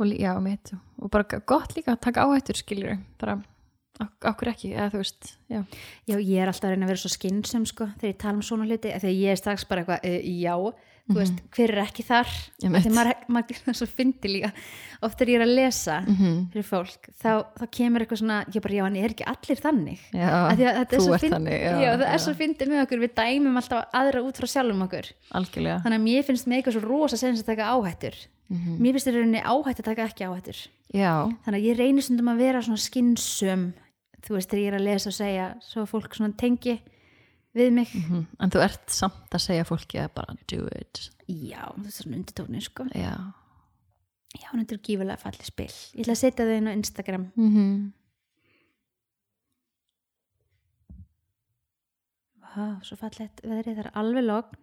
B: Og, lí- já, mitt. Og bara g- gott líka að taka áhættur, skiljur. Bara, ok- okkur ekki, eða þú veist, já.
A: já ég er alltaf að reyna að vera svo skinnsum sko þegar ég tala um svona hluti, af því að ég er strax bara eitthvað uh, já,
B: Mhm.
A: þú veist, hver er ekki þar
B: Ég
A: Af því maður, maður, maður svo fyndi líka oft er ég er að lesa
B: Mhm.
A: fyrir fólk, þá, þá kemur eitthvað svona ég bara, já, en er ekki allir þannig
B: Já,
A: Af því að þetta er
B: þú
A: svo
B: ert
A: fyndið-
B: þannig.
A: já, það er svo fyndið með okkur, við dæmum alltaf aðra út frá sjálfum okkur
B: Algjörlega.
A: þannig að mér finnst með eitthvað svo rosa sens að taka áhættur mér finnst þér rauninni áhætt að taka ekki áhættur
B: Mhm. Já,
A: þannig að ég reynir stundum að vera svona skynsum þú veist þegar ég er að lesa og segja svo að fólk svona tengi við mig
B: mhm. en þú ert samt að segja fólki að bara do it.
A: já, það er svona undirtónin sko
B: Já.
A: já, hún er gífulega fallið spil ég ætla að setja þau inn á Instagram
B: Mm
A: Mhm. Vá, svo fallið veðrið, það er alveg logn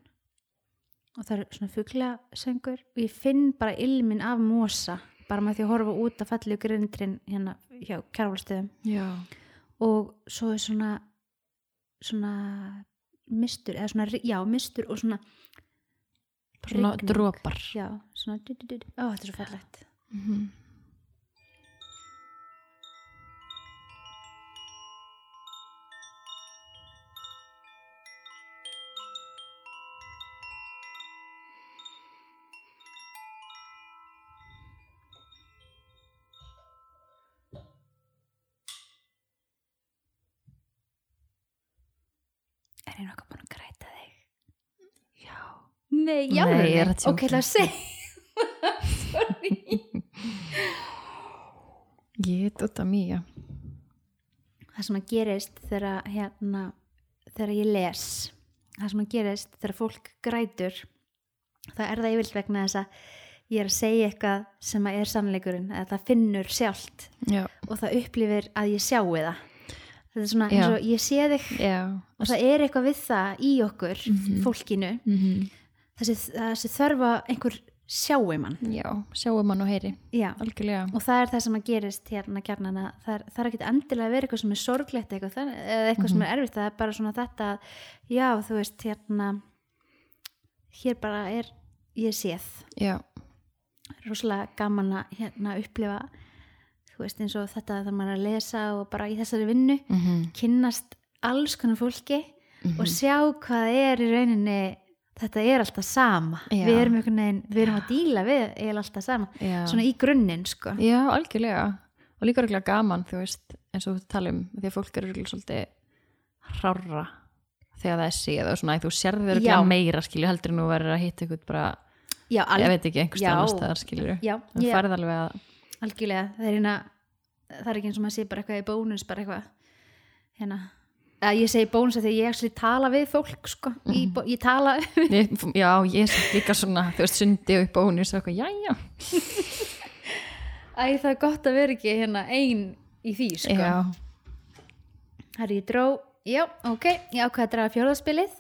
A: og það er svona fuglasöngur og ég finn bara ilmin af mosa bara með því að horfa út að fallið grindrin hérna hjá kjárfólstöðum
B: Já.
A: og svo er svona svona mistur, eða svona, já, mistur og svona
B: Svona
A: Rigning.
B: dropar.
A: Já, svona du, du, du, du. Ó, þetta er svo fallegt Mhm. Er ég nokkuð búin að græta þig?
B: Já.
A: Nei, já,
B: Nei, ég er að
A: Ok,
B: tjóka.
A: það sé Sorry
B: Ég er þetta mýja.
A: það sem að gerist þegar að, hérna, þegar ég les það sem að gerist þegar fólk grætur þá er það yfirlt vegna þess að ég er að segja eitthvað sem að er sannleikurinn eða það finnur sjálft
B: Já.
A: og það upplifir að ég sjáu það þetta er svona
B: Já.
A: eins og ég sé þig
B: Já.
A: og það er eitthvað við það í okkur fólkinu, Mhm.
B: Mm
A: þessi, þessi þörfa einhver sjáu mann
B: Já, sjáum hann og heyri.
A: Já.
B: Algjörlega.
A: og það er það sem að gerist hérna kjarnan að það er, það er ekki endilega að vera eitthvað sem er sorglegt eitthvað, það, eða eitthvað sem er erfitt það er bara svona þetta að já þú veist hérna hér bara er ég séð
B: Já.
A: rosalega gaman að hérna upplifa þú veist eins og þetta þegar maður er að lesa og bara í þessari vinnu
B: Mm
A: kynnast alls konar fólki og sjá hvað er í rauninni þetta er alltaf sama
B: Já.
A: við erum einhvern veginn, við erum að díla við er alltaf sama,
B: Já.
A: svona í grunninn sko
B: Já, algjörlega. Og líka reglulega gaman, þú veist, eins og þú tala um, því að fólk eru reglulega svolítið hrarra þegar það er séð og svona, æ, þú sérður reglulega
A: Já.
B: meira, skilju, heldur en þú verður að hitta ykkur bara,
A: Já,
B: ég veit ekki, einhvers
A: Já.
B: staðar annars staðar, skilju.
A: Já,
B: Þú
A: ég-
B: farið alveg að,
A: algjörlega það er, hérna, það er ekki eins og maður sé bara eitthvað í bónus bara eitthvað hérna Eða ég segi bónus af því að ég actually tala við fólk sko,
B: Mm.
A: ég, ég tala
B: ég, já, ég er samt líka svona, þú veist, sundi og í bónus og eitthvað, já, já.
A: Æ, það er gott að vera ekki hérna ein í því sko.
B: Já,
A: Herri, ég dró Já, ok, ég ákveða að draga fjóðarspilið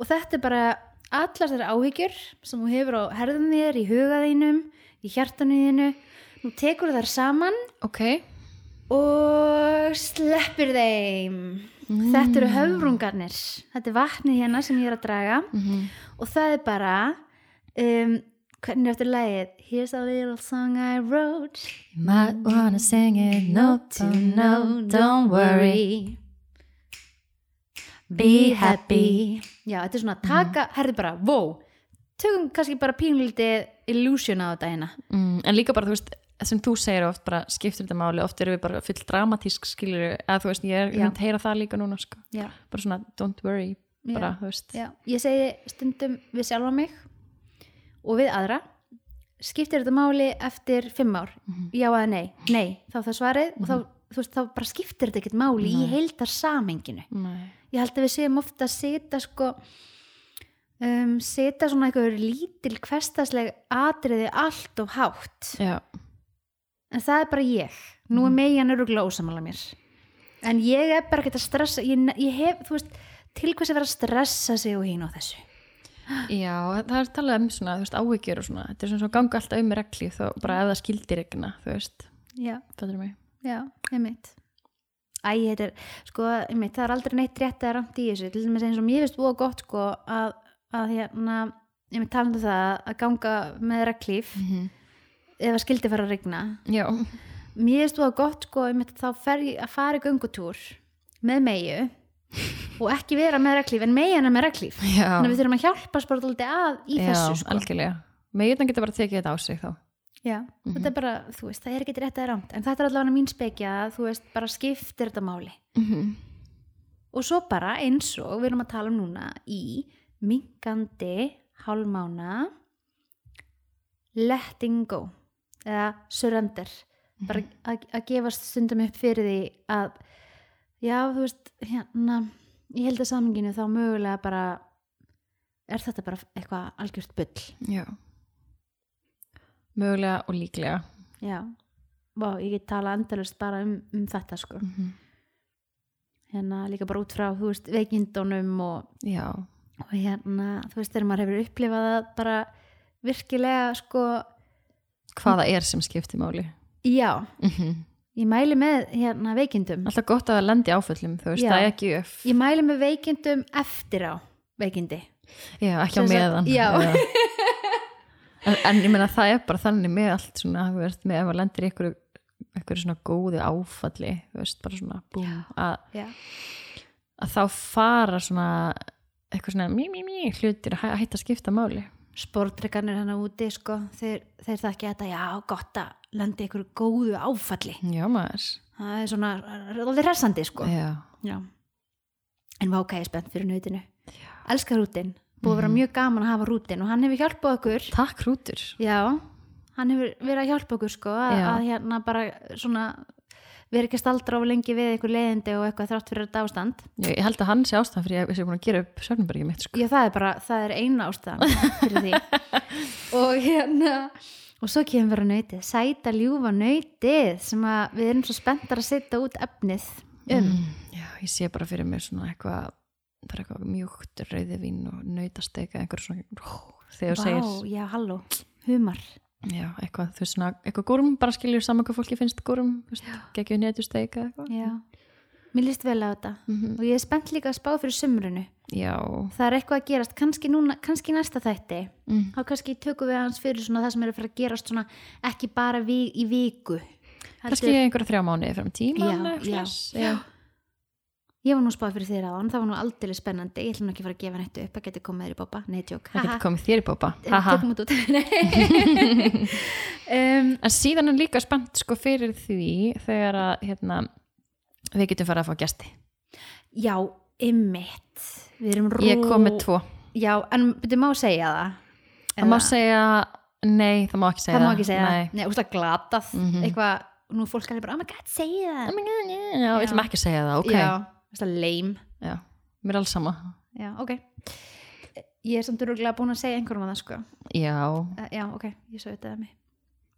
A: og þetta er bara allar þær áhyggjur sem þú hefur á herðum þér, í hugaðinum, í hjartanu þínu. Nú tekur þær saman
B: Ok,
A: og sleppir þeim. Þetta eru höfrungarnir. Þetta er vatnið hérna sem ég er að draga og það er bara, um, hvernig er eftir lagið? Here's a little song I wrote.
B: You might wanna sing it note to note, don't worry Be happy Mhm.
A: Já, þetta er svona að taka, herði bara, wow tökum kannski bara pínlítið illusion á þetta hérna
B: mm, En líka bara, þú veist, sem þú segir oft bara skiptir þetta máli, oft erum við bara full dramatísk skilur, eða þú veist, ég er
A: Já.
B: að heyra það líka núna, sko,
A: Já,
B: bara svona don't worry, bara, þú veist
A: já, ég segi stundum við sjálfa mig og við aðra skiptir þetta máli eftir fimm ár
B: Mhm.
A: já eða nei, nei, þá er það svarið og þá, þú veist, þá bara skiptir þetta ekkert máli í heildar samenginu
B: Nei.
A: ég held að við séum ofta að setja sko um, setja svona eitthvað lítil hverstasleg atriði allt og hátt
B: Já,
A: en það er bara ég nú er megin öruglega ósamála mér en ég er bara ekkert að stressa ég, ég hef, þú veist, til hvers að vera að stressa sig og hín á þessu
B: já, það er talað um svona, þú veist, áhyggjur og svona, þetta er svona svo ganga alltaf um í regli þá bara ef það skildir regna, þú veist
A: já,
B: fattur mig,
A: já, einmitt æ, þetta er, sko, einmitt það er aldrei neitt rétt að rámt í þessu til dæmis eins og mér finnst búið gott, sko að, að hérna, einmitt talandi um það að ganga með reglíf ef að skildi fara að regna
B: já
A: mér finnst það gott sko um þá fer ég að fara í göngutúr með meiu og ekki vera með reglíf en meian er með reglíf
B: Já,
A: þannig að við þurfum að hjálpa bara dálítið að í
B: já
A: þessu sko
B: algjörlega með þetta getur bara tekið þetta á sig þá
A: já,
B: Mhm.
A: þetta er bara, þú veist, það er ekki rétt eða rámt en þetta er allavega mín spekja að þú veist, bara skiptir þetta máli Mhm. og svo bara eins og við erum að tala um núna í minkandi hálmána letting go eða surrender bara að, að gefast stundum upp fyrir því að já þú veist hérna ég held að saminginu þá mögulega bara er þetta bara eitthvað algjört bull
B: Já Mögulega og líklega
A: já, Vá, ég get tala endalust bara um, um þetta sko hérna líka bara út frá þú veist veikindunum og
B: Já,
A: og hérna, þú veist, þegar maður hefur upplifað það bara virkilega sko,
B: hvaða er sem skiptir máli
A: já
B: mm
A: ég mæli með hérna veikindum
B: Alltaf gott að það lendi í áföllum þú veist,
A: Já.
B: það er ekki upp
A: ég mæli með veikindum eftir á veikindi
B: Já, ekki á
A: Sem sagt,
B: meðan
A: já.
B: eða- en, en ég meina það er bara þannig með allt svona, þú veist, með ef að lendir ykkur ykkur svona góðu áfalli þú veist, bara svona búm
A: Já.
B: að,
A: já,
B: að þá fara svona eitthvað svona mí, mí, mí hlutir að hæ- hætta að skipta máli
A: sportrekanir hérna úti sko, þeir, þeir þakki þetta, já, gott að landi ykkur góðu áfalli
B: Já, maður
A: það er svona, alveg hressandi sko
B: Já,
A: já, en vá, ok, ég er spennt fyrir nautinu elskar rútin, búið að vera mjög gaman að hafa rútin og hann hefur hjálpað okkur
B: takk rútur
A: Já, hann hefur verið að hjálpa okkur sko að,
B: Já.
A: að hérna bara svona við erum ekki að staldra á lengi við eitthvað leiðindi og eitthvað þrátt fyrir þetta ástand
B: Ég, ég held að hann sé ástæðan fyrir að ég sé búin að gera upp Sörnubergi mitt sko.
A: Já, það er bara, það er eina ástæðan fyrir því og hérna og svo kemur bara nautið, sæta ljúfa nautið sem að við erum svo spenntar að setja út efnið um
B: Mm, Já, ég sé bara fyrir mér svona eitthvað bara eitthvað mjúkt rauðivín og nautasteka einhver svona ó, þegar þú
A: Vá,
B: segir
A: já, halló, humar
B: já, eitthvað, þú veist svona, eitthvað gúrum bara skiljur saman hvað fólki finnst gúrum geggjum netusteka eitthvað
A: Já, mér líst vel á þetta
B: Mhm.
A: og ég er spennt líka að spá fyrir sumrunu
B: Já,
A: það er eitthvað að gerast, kannski núna kannski í næsta þætti
B: Mm.
A: þá kannski tökum við hans fyrir svona það sem er að fara að gerast svona ekki bara vi, í viku
B: kannski einhverja þrjá mánuði fram í tíma
A: Já,
B: eða eitthvað
A: já.
B: svoleiðis. já.
A: ég var nú spáð fyrir þér á hann, það var nú aldrei spennandi ég ætlum nú ekki að fara að gefa neitt upp, það getur komið þér í bópa nei, tjók,
B: það getur komið þér í bópa Haha.
A: tökum út út Nei. um,
B: en síðan er líka spennt sko fyrir því þegar að hérna, við getum farið að fá gesti
A: já, ymmit við erum rú
B: ég kom með tvo
A: já, en byrju má segja það
B: það má segja, nei það má ekki segja
A: það má ekki segja
B: Nei.
A: það, nei, úrslag glatað
B: Mhm.
A: eitthvað, nú er fólk alveg bara, oh my god, segja það
B: Oh my God, yeah. Já,
A: Já.
B: við ætlum ekki að segja það, ok
A: já, úrslag lame
B: Já. Mér er alls sama
A: Já, ok. Ég er samt öruglega búin að segja einhverjum að það, sko.
B: Já,
A: Uh, já, ok, ég svo auðvitaði mig.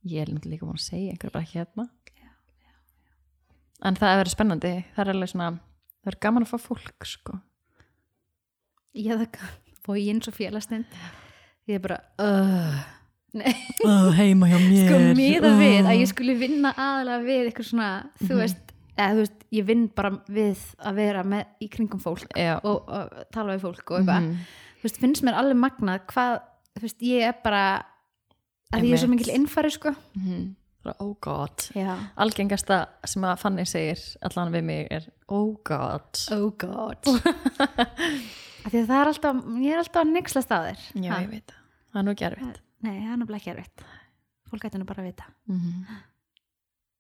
B: ég er náttúrulega líka búin að segja einhver bara ekki hérna En það er verið spennandi Það er alveg svona það er gaman að fá fólk sko.
A: Ég þakka bógin svo félastind. Ég er bara, uh,
B: oh, heima hjá mér
A: sko miða við að ég sko- skuli vinna aðalega við eitthvað svona,
B: Mhm.
A: þú veist, eða þú veist, ég vinn bara við að vera með í kringum fólk
B: Já.
A: og, og tala við fólk og eitthvað.
B: Mhm.
A: Þú veist, finnst mér alveg magnað hvað, þú veist, ég er bara, að ég er svo
B: Einmitt.
A: mikil innfæri, sko.
B: Mhm. oh god
A: Já.
B: algengasta sem að Fanny segir allan við mig er oh god
A: Oh god. Af því að það er alltaf, ég er alltaf að nexla staðir.
B: já ég veit það, það er nú gerfitt
A: Nei, það er náttúrulega ekki erfitt. Fólk ætti nú bara að vita.
B: mm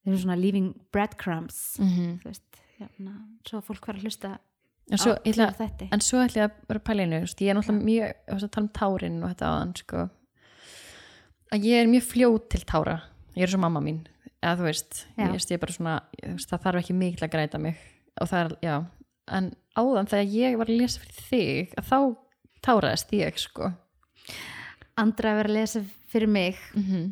A: Þeir eru svona leaving breadcrumbs.
B: Mm.
A: Þú veist, jafna, svo að fólk vera að hlusta
B: Mhm. en, svo,
A: á
B: ætla,
A: fyrir þetta.
B: en svo ætla ég að vera að pæla í einu, þú veist, ég er náttúrulega mjög þú veist, að tala um tárin og þetta aðan sko. að ég er mjög fljót til tára ég er svo mamma mín eða þú veist,
A: Já.
B: ég, veist, ég er bara svona ég, þú veist, það þarf ekki mikil að græta mig og það er, já, en áðan þegar ég var að lesa fyrir þig að þá táraðist ég sko
A: Andra að vera að lesa fyrir mig
B: mm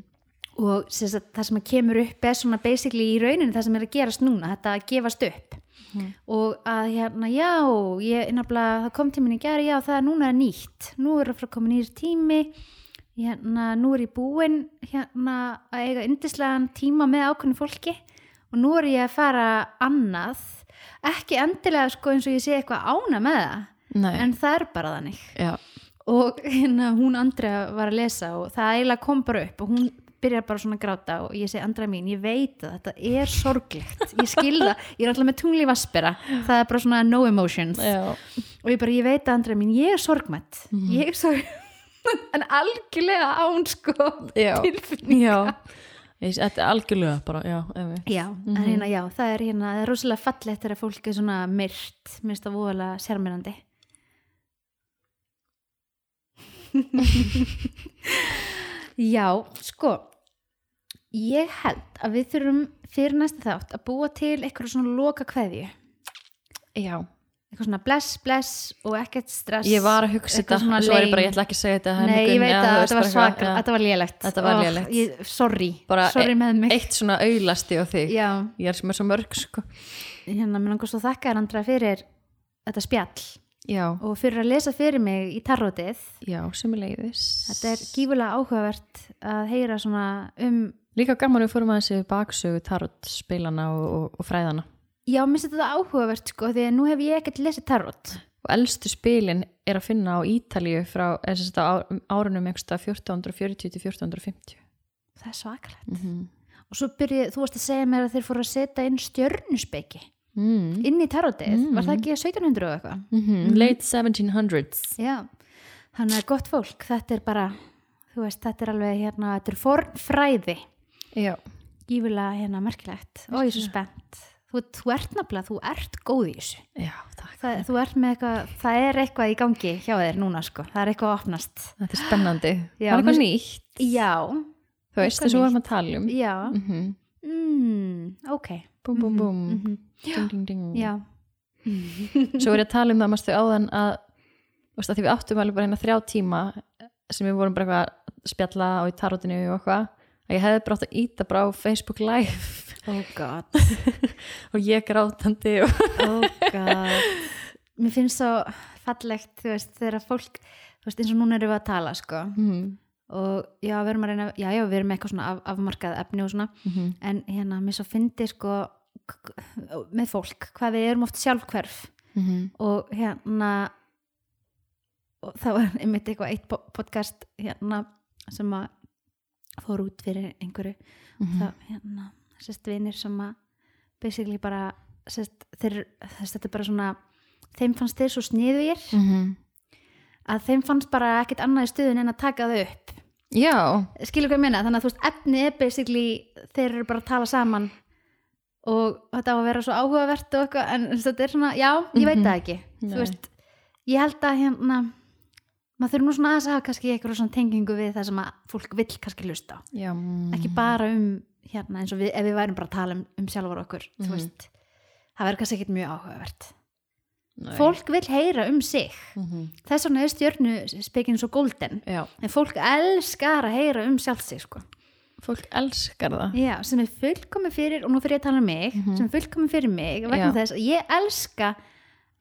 A: og sem sagt, það sem að kemur upp er svona basically í rauninu það sem er að gerast núna, þetta að gefast upp.
B: Mhm.
A: Og að hérna, já, ég, nafnilega, það kom til minni í gæri, já, það er núna nýtt. Nú er að fara að koma nýr tími, hérna, nú er ég búin hérna, að eiga yndislegan tíma með ákveðnu fólki og nú er ég að fara annað, ekki endilega sko eins og ég sé eitthvað ána með það,
B: Nei,
A: en það er bara þannig
B: já,
A: og hérna hún Andrea var að lesa og það eiginlega kom bara upp og hún byrjar bara svona að gráta og ég segi Andrea mín, ég veit að þetta er sorglegt ég skilða, ég er alltaf með tungli vaspera það er bara svona no emotions
B: já
A: og ég bara, ég veit að Andrea mín, ég er sorgmætt ég er sorg en algjörlega án sko
B: Já.
A: tilfinning
B: já, Ég- þetta er algjörlega bara, já, emi
A: Já, en hérna, já, það er hérna, það er rosalega fallegt þegar fólk er svona myrt, minnst það voðalega sérmyrandi. já, sko, ég held að við þurfum fyrir næsta þátt að búa til eitthvað svona loka kveðju,
B: já,
A: eitthvað svona bless, bless og ekkert stress.
B: ég var að hugsa
A: eitthvað
B: þetta
A: svona
B: svo er ég bara,
A: lame.
B: ég ætla ekki að segja þetta það er
A: Nei,
B: mjög
A: ég veit
B: gunni,
A: að
B: þú
A: þetta var
B: veist, bara eitthvað,
A: svakar,
B: já.
A: þetta var lélegt.
B: Þetta var
A: Oh,
B: lélegt.
A: ég- Sorry,
B: Bara
A: sorry
B: e-
A: með mig.
B: eitt svona auðlasti á þig
A: Já.
B: ég er sem er svo mörg sko
A: hérna, mér langar svo að þakka þér andra fyrir þetta spjall
B: já,
A: og fyrir að lesa fyrir mig í tarrótið
B: já, sem er leiðis
A: þetta er gífulega áhugavert að heyra svona um
B: líka gaman við fórum aðeins yfir baksögu tarot spilana og, og, og fræðana
A: já, mér finnst þetta áhugavert sko því að nú hef ég ekkert lesið tarrót
B: og elstu spilin er að finna á Ítalíu frá eða sem sagt á á árunum 1440-1450
A: það er svakalegt
B: mm -hmm.
A: og svo byrjið, þú varst að segja mér að þeir fóru að setja inn stjörnuspeiki
B: mm.
A: inn í tarrótið, var það ekki 1700 og eitthvað
B: Mm-hmm. late 1700s
A: Já, þannig að gott fólk, þetta er bara, þú veist, þetta er alveg hérna, þetta er fornfræði,
B: já,
A: gífulega hérna merkilegt. Ó, ég er svo spennt. Þú, þú ert nafnilega, þú ert góð í þessu.
B: já, takk
A: Það, þú ert með eitthvað, það er eitthvað í gangi hjá þér núna, sko. Það er eitthvað að opnast.
B: þetta er spennandi,
A: Já,
B: það er eitthvað
A: mér-
B: nýtt
A: Já,
B: þú
A: Eitthvað
B: veist, þessu
A: nýtt.
B: vorum að tala um
A: já,
B: mm -hmm.
A: mm, ok.
B: búm, búm, búm
A: mhm.
B: ding, ding, ding.
A: Já,
B: svo er ég að tala um það mástu áðan að, þú veist, að því við áttum alveg bara hérna þrjá tíma sem við vorum bara eitthvað að spjalla og í tarotinu og eitthvað að ég hefði bara átt að íta bara á Facebook live
A: oh god,
B: og ég grátandi og
A: oh god. Mér finnst svo fallegt, þú veist, þegar fólk, þú veist, eins og núna erum við að tala, sko.
B: mm
A: og já, við erum að reyna já, já, við erum með eitthvað svona af, afmarkað efni og svona
B: -hmm.
A: en hérna, mér svo fyndi sko k- með fólk, hvað við erum oft sjálfhverf
B: mhm,
A: og hérna og það var einmitt eitthvað eitt po- podcast hérna sem að fór út fyrir einhverju
B: mhm.
A: þá hérna, sérst vinir sem að basically bara sérst, þeir, sérst, þetta er bara svona þeim fannst þeir svo sniðugir
B: Mhm.
A: að þeim fannst bara ekkert annað í stuðun en að taka þau upp
B: já,
A: skilur hvað ég meina, þannig að þú veist efni er basically, þeir eru bara að tala saman og þetta á að vera svo áhugavert og eitthvað, en þú veist, þetta er svona já, ég veit það ekki,
B: Mhm. Nei.
A: þú veist ég held að hérna maður þurfum nú svona aðeins að hafa kannski eitthvað svona tengingu við það sem að fólk vill kannski lusta á
B: já Mhm.
A: ekki bara um, hérna, eins og við ef við værum bara að tala um, um sjálfur okkur
B: Mhm.
A: þú veist, það verður kannski ekkert mjög áhugavert
B: Nei.
A: fólk vill heyra um sig
B: Mhm.
A: þess vegna er stjörnu spekin svo golden
B: já,
A: en fólk elskar að heyra um sjálf sig sko
B: fólk elskar það
A: Já, sem er fullkomi fyrir, og nú fyrir ég að tala um mig, sem er fullkomi fyrir mig, vegna
B: Mhm. Já.
A: þess að ég elska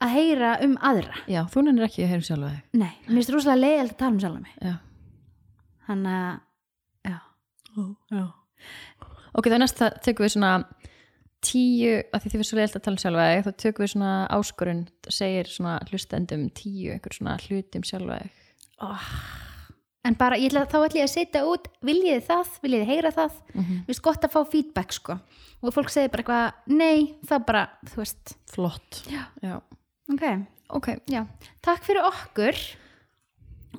A: að heyra um aðra
B: Já, þú nennir ekki að heyra um sjálfa þig.
A: nei, mér finnst rosalega leiðilegt að tala um sjálf mig
B: Já.
A: þannig að, já,
B: Já. Ok, þá næst það tökum við svona tíu, að því þið fyrir svo leiðilt að tala um sjálfa þig, þá tökum við svona áskorun, segir svona hlustendum tíu, einhver svona hluti um sjálfa þig.
A: en bara, ég ætla, þá ætla ég að setja út viljið þið það, viljið þið heyra það
B: Mm -hmm.
A: mér finnst gott að fá feedback sko og fólk segir bara eitthvað, nei, það bara þú veist,
B: Flott.
A: Já.
B: Já.
A: ok
B: Ok,
A: já, takk fyrir okkur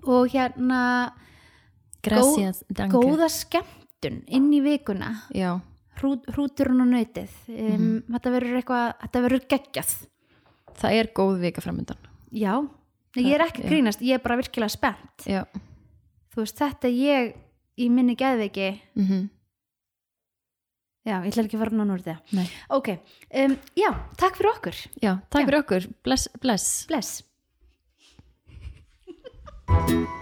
A: og hérna
B: gracias, danke.
A: góða skemmtun inn í vikuna
B: Já,
A: hrú- hrúturinn og nautið um, þetta verður eitthvað, þetta verður geggjað
B: það er góð vika framöndan.
A: já, Nei, ég er ekki
B: já.
A: að grínast ég er bara virkilega spennt
B: Já.
A: þú veist, þetta ég í minni geðveiki
B: Mm
A: já, ég ætla ekki að fara nánu úr þetta
B: Nei.
A: ok, um, já, takk fyrir okkur
B: Já, takk
A: Já.
B: fyrir okkur. Bless, bless.
A: bless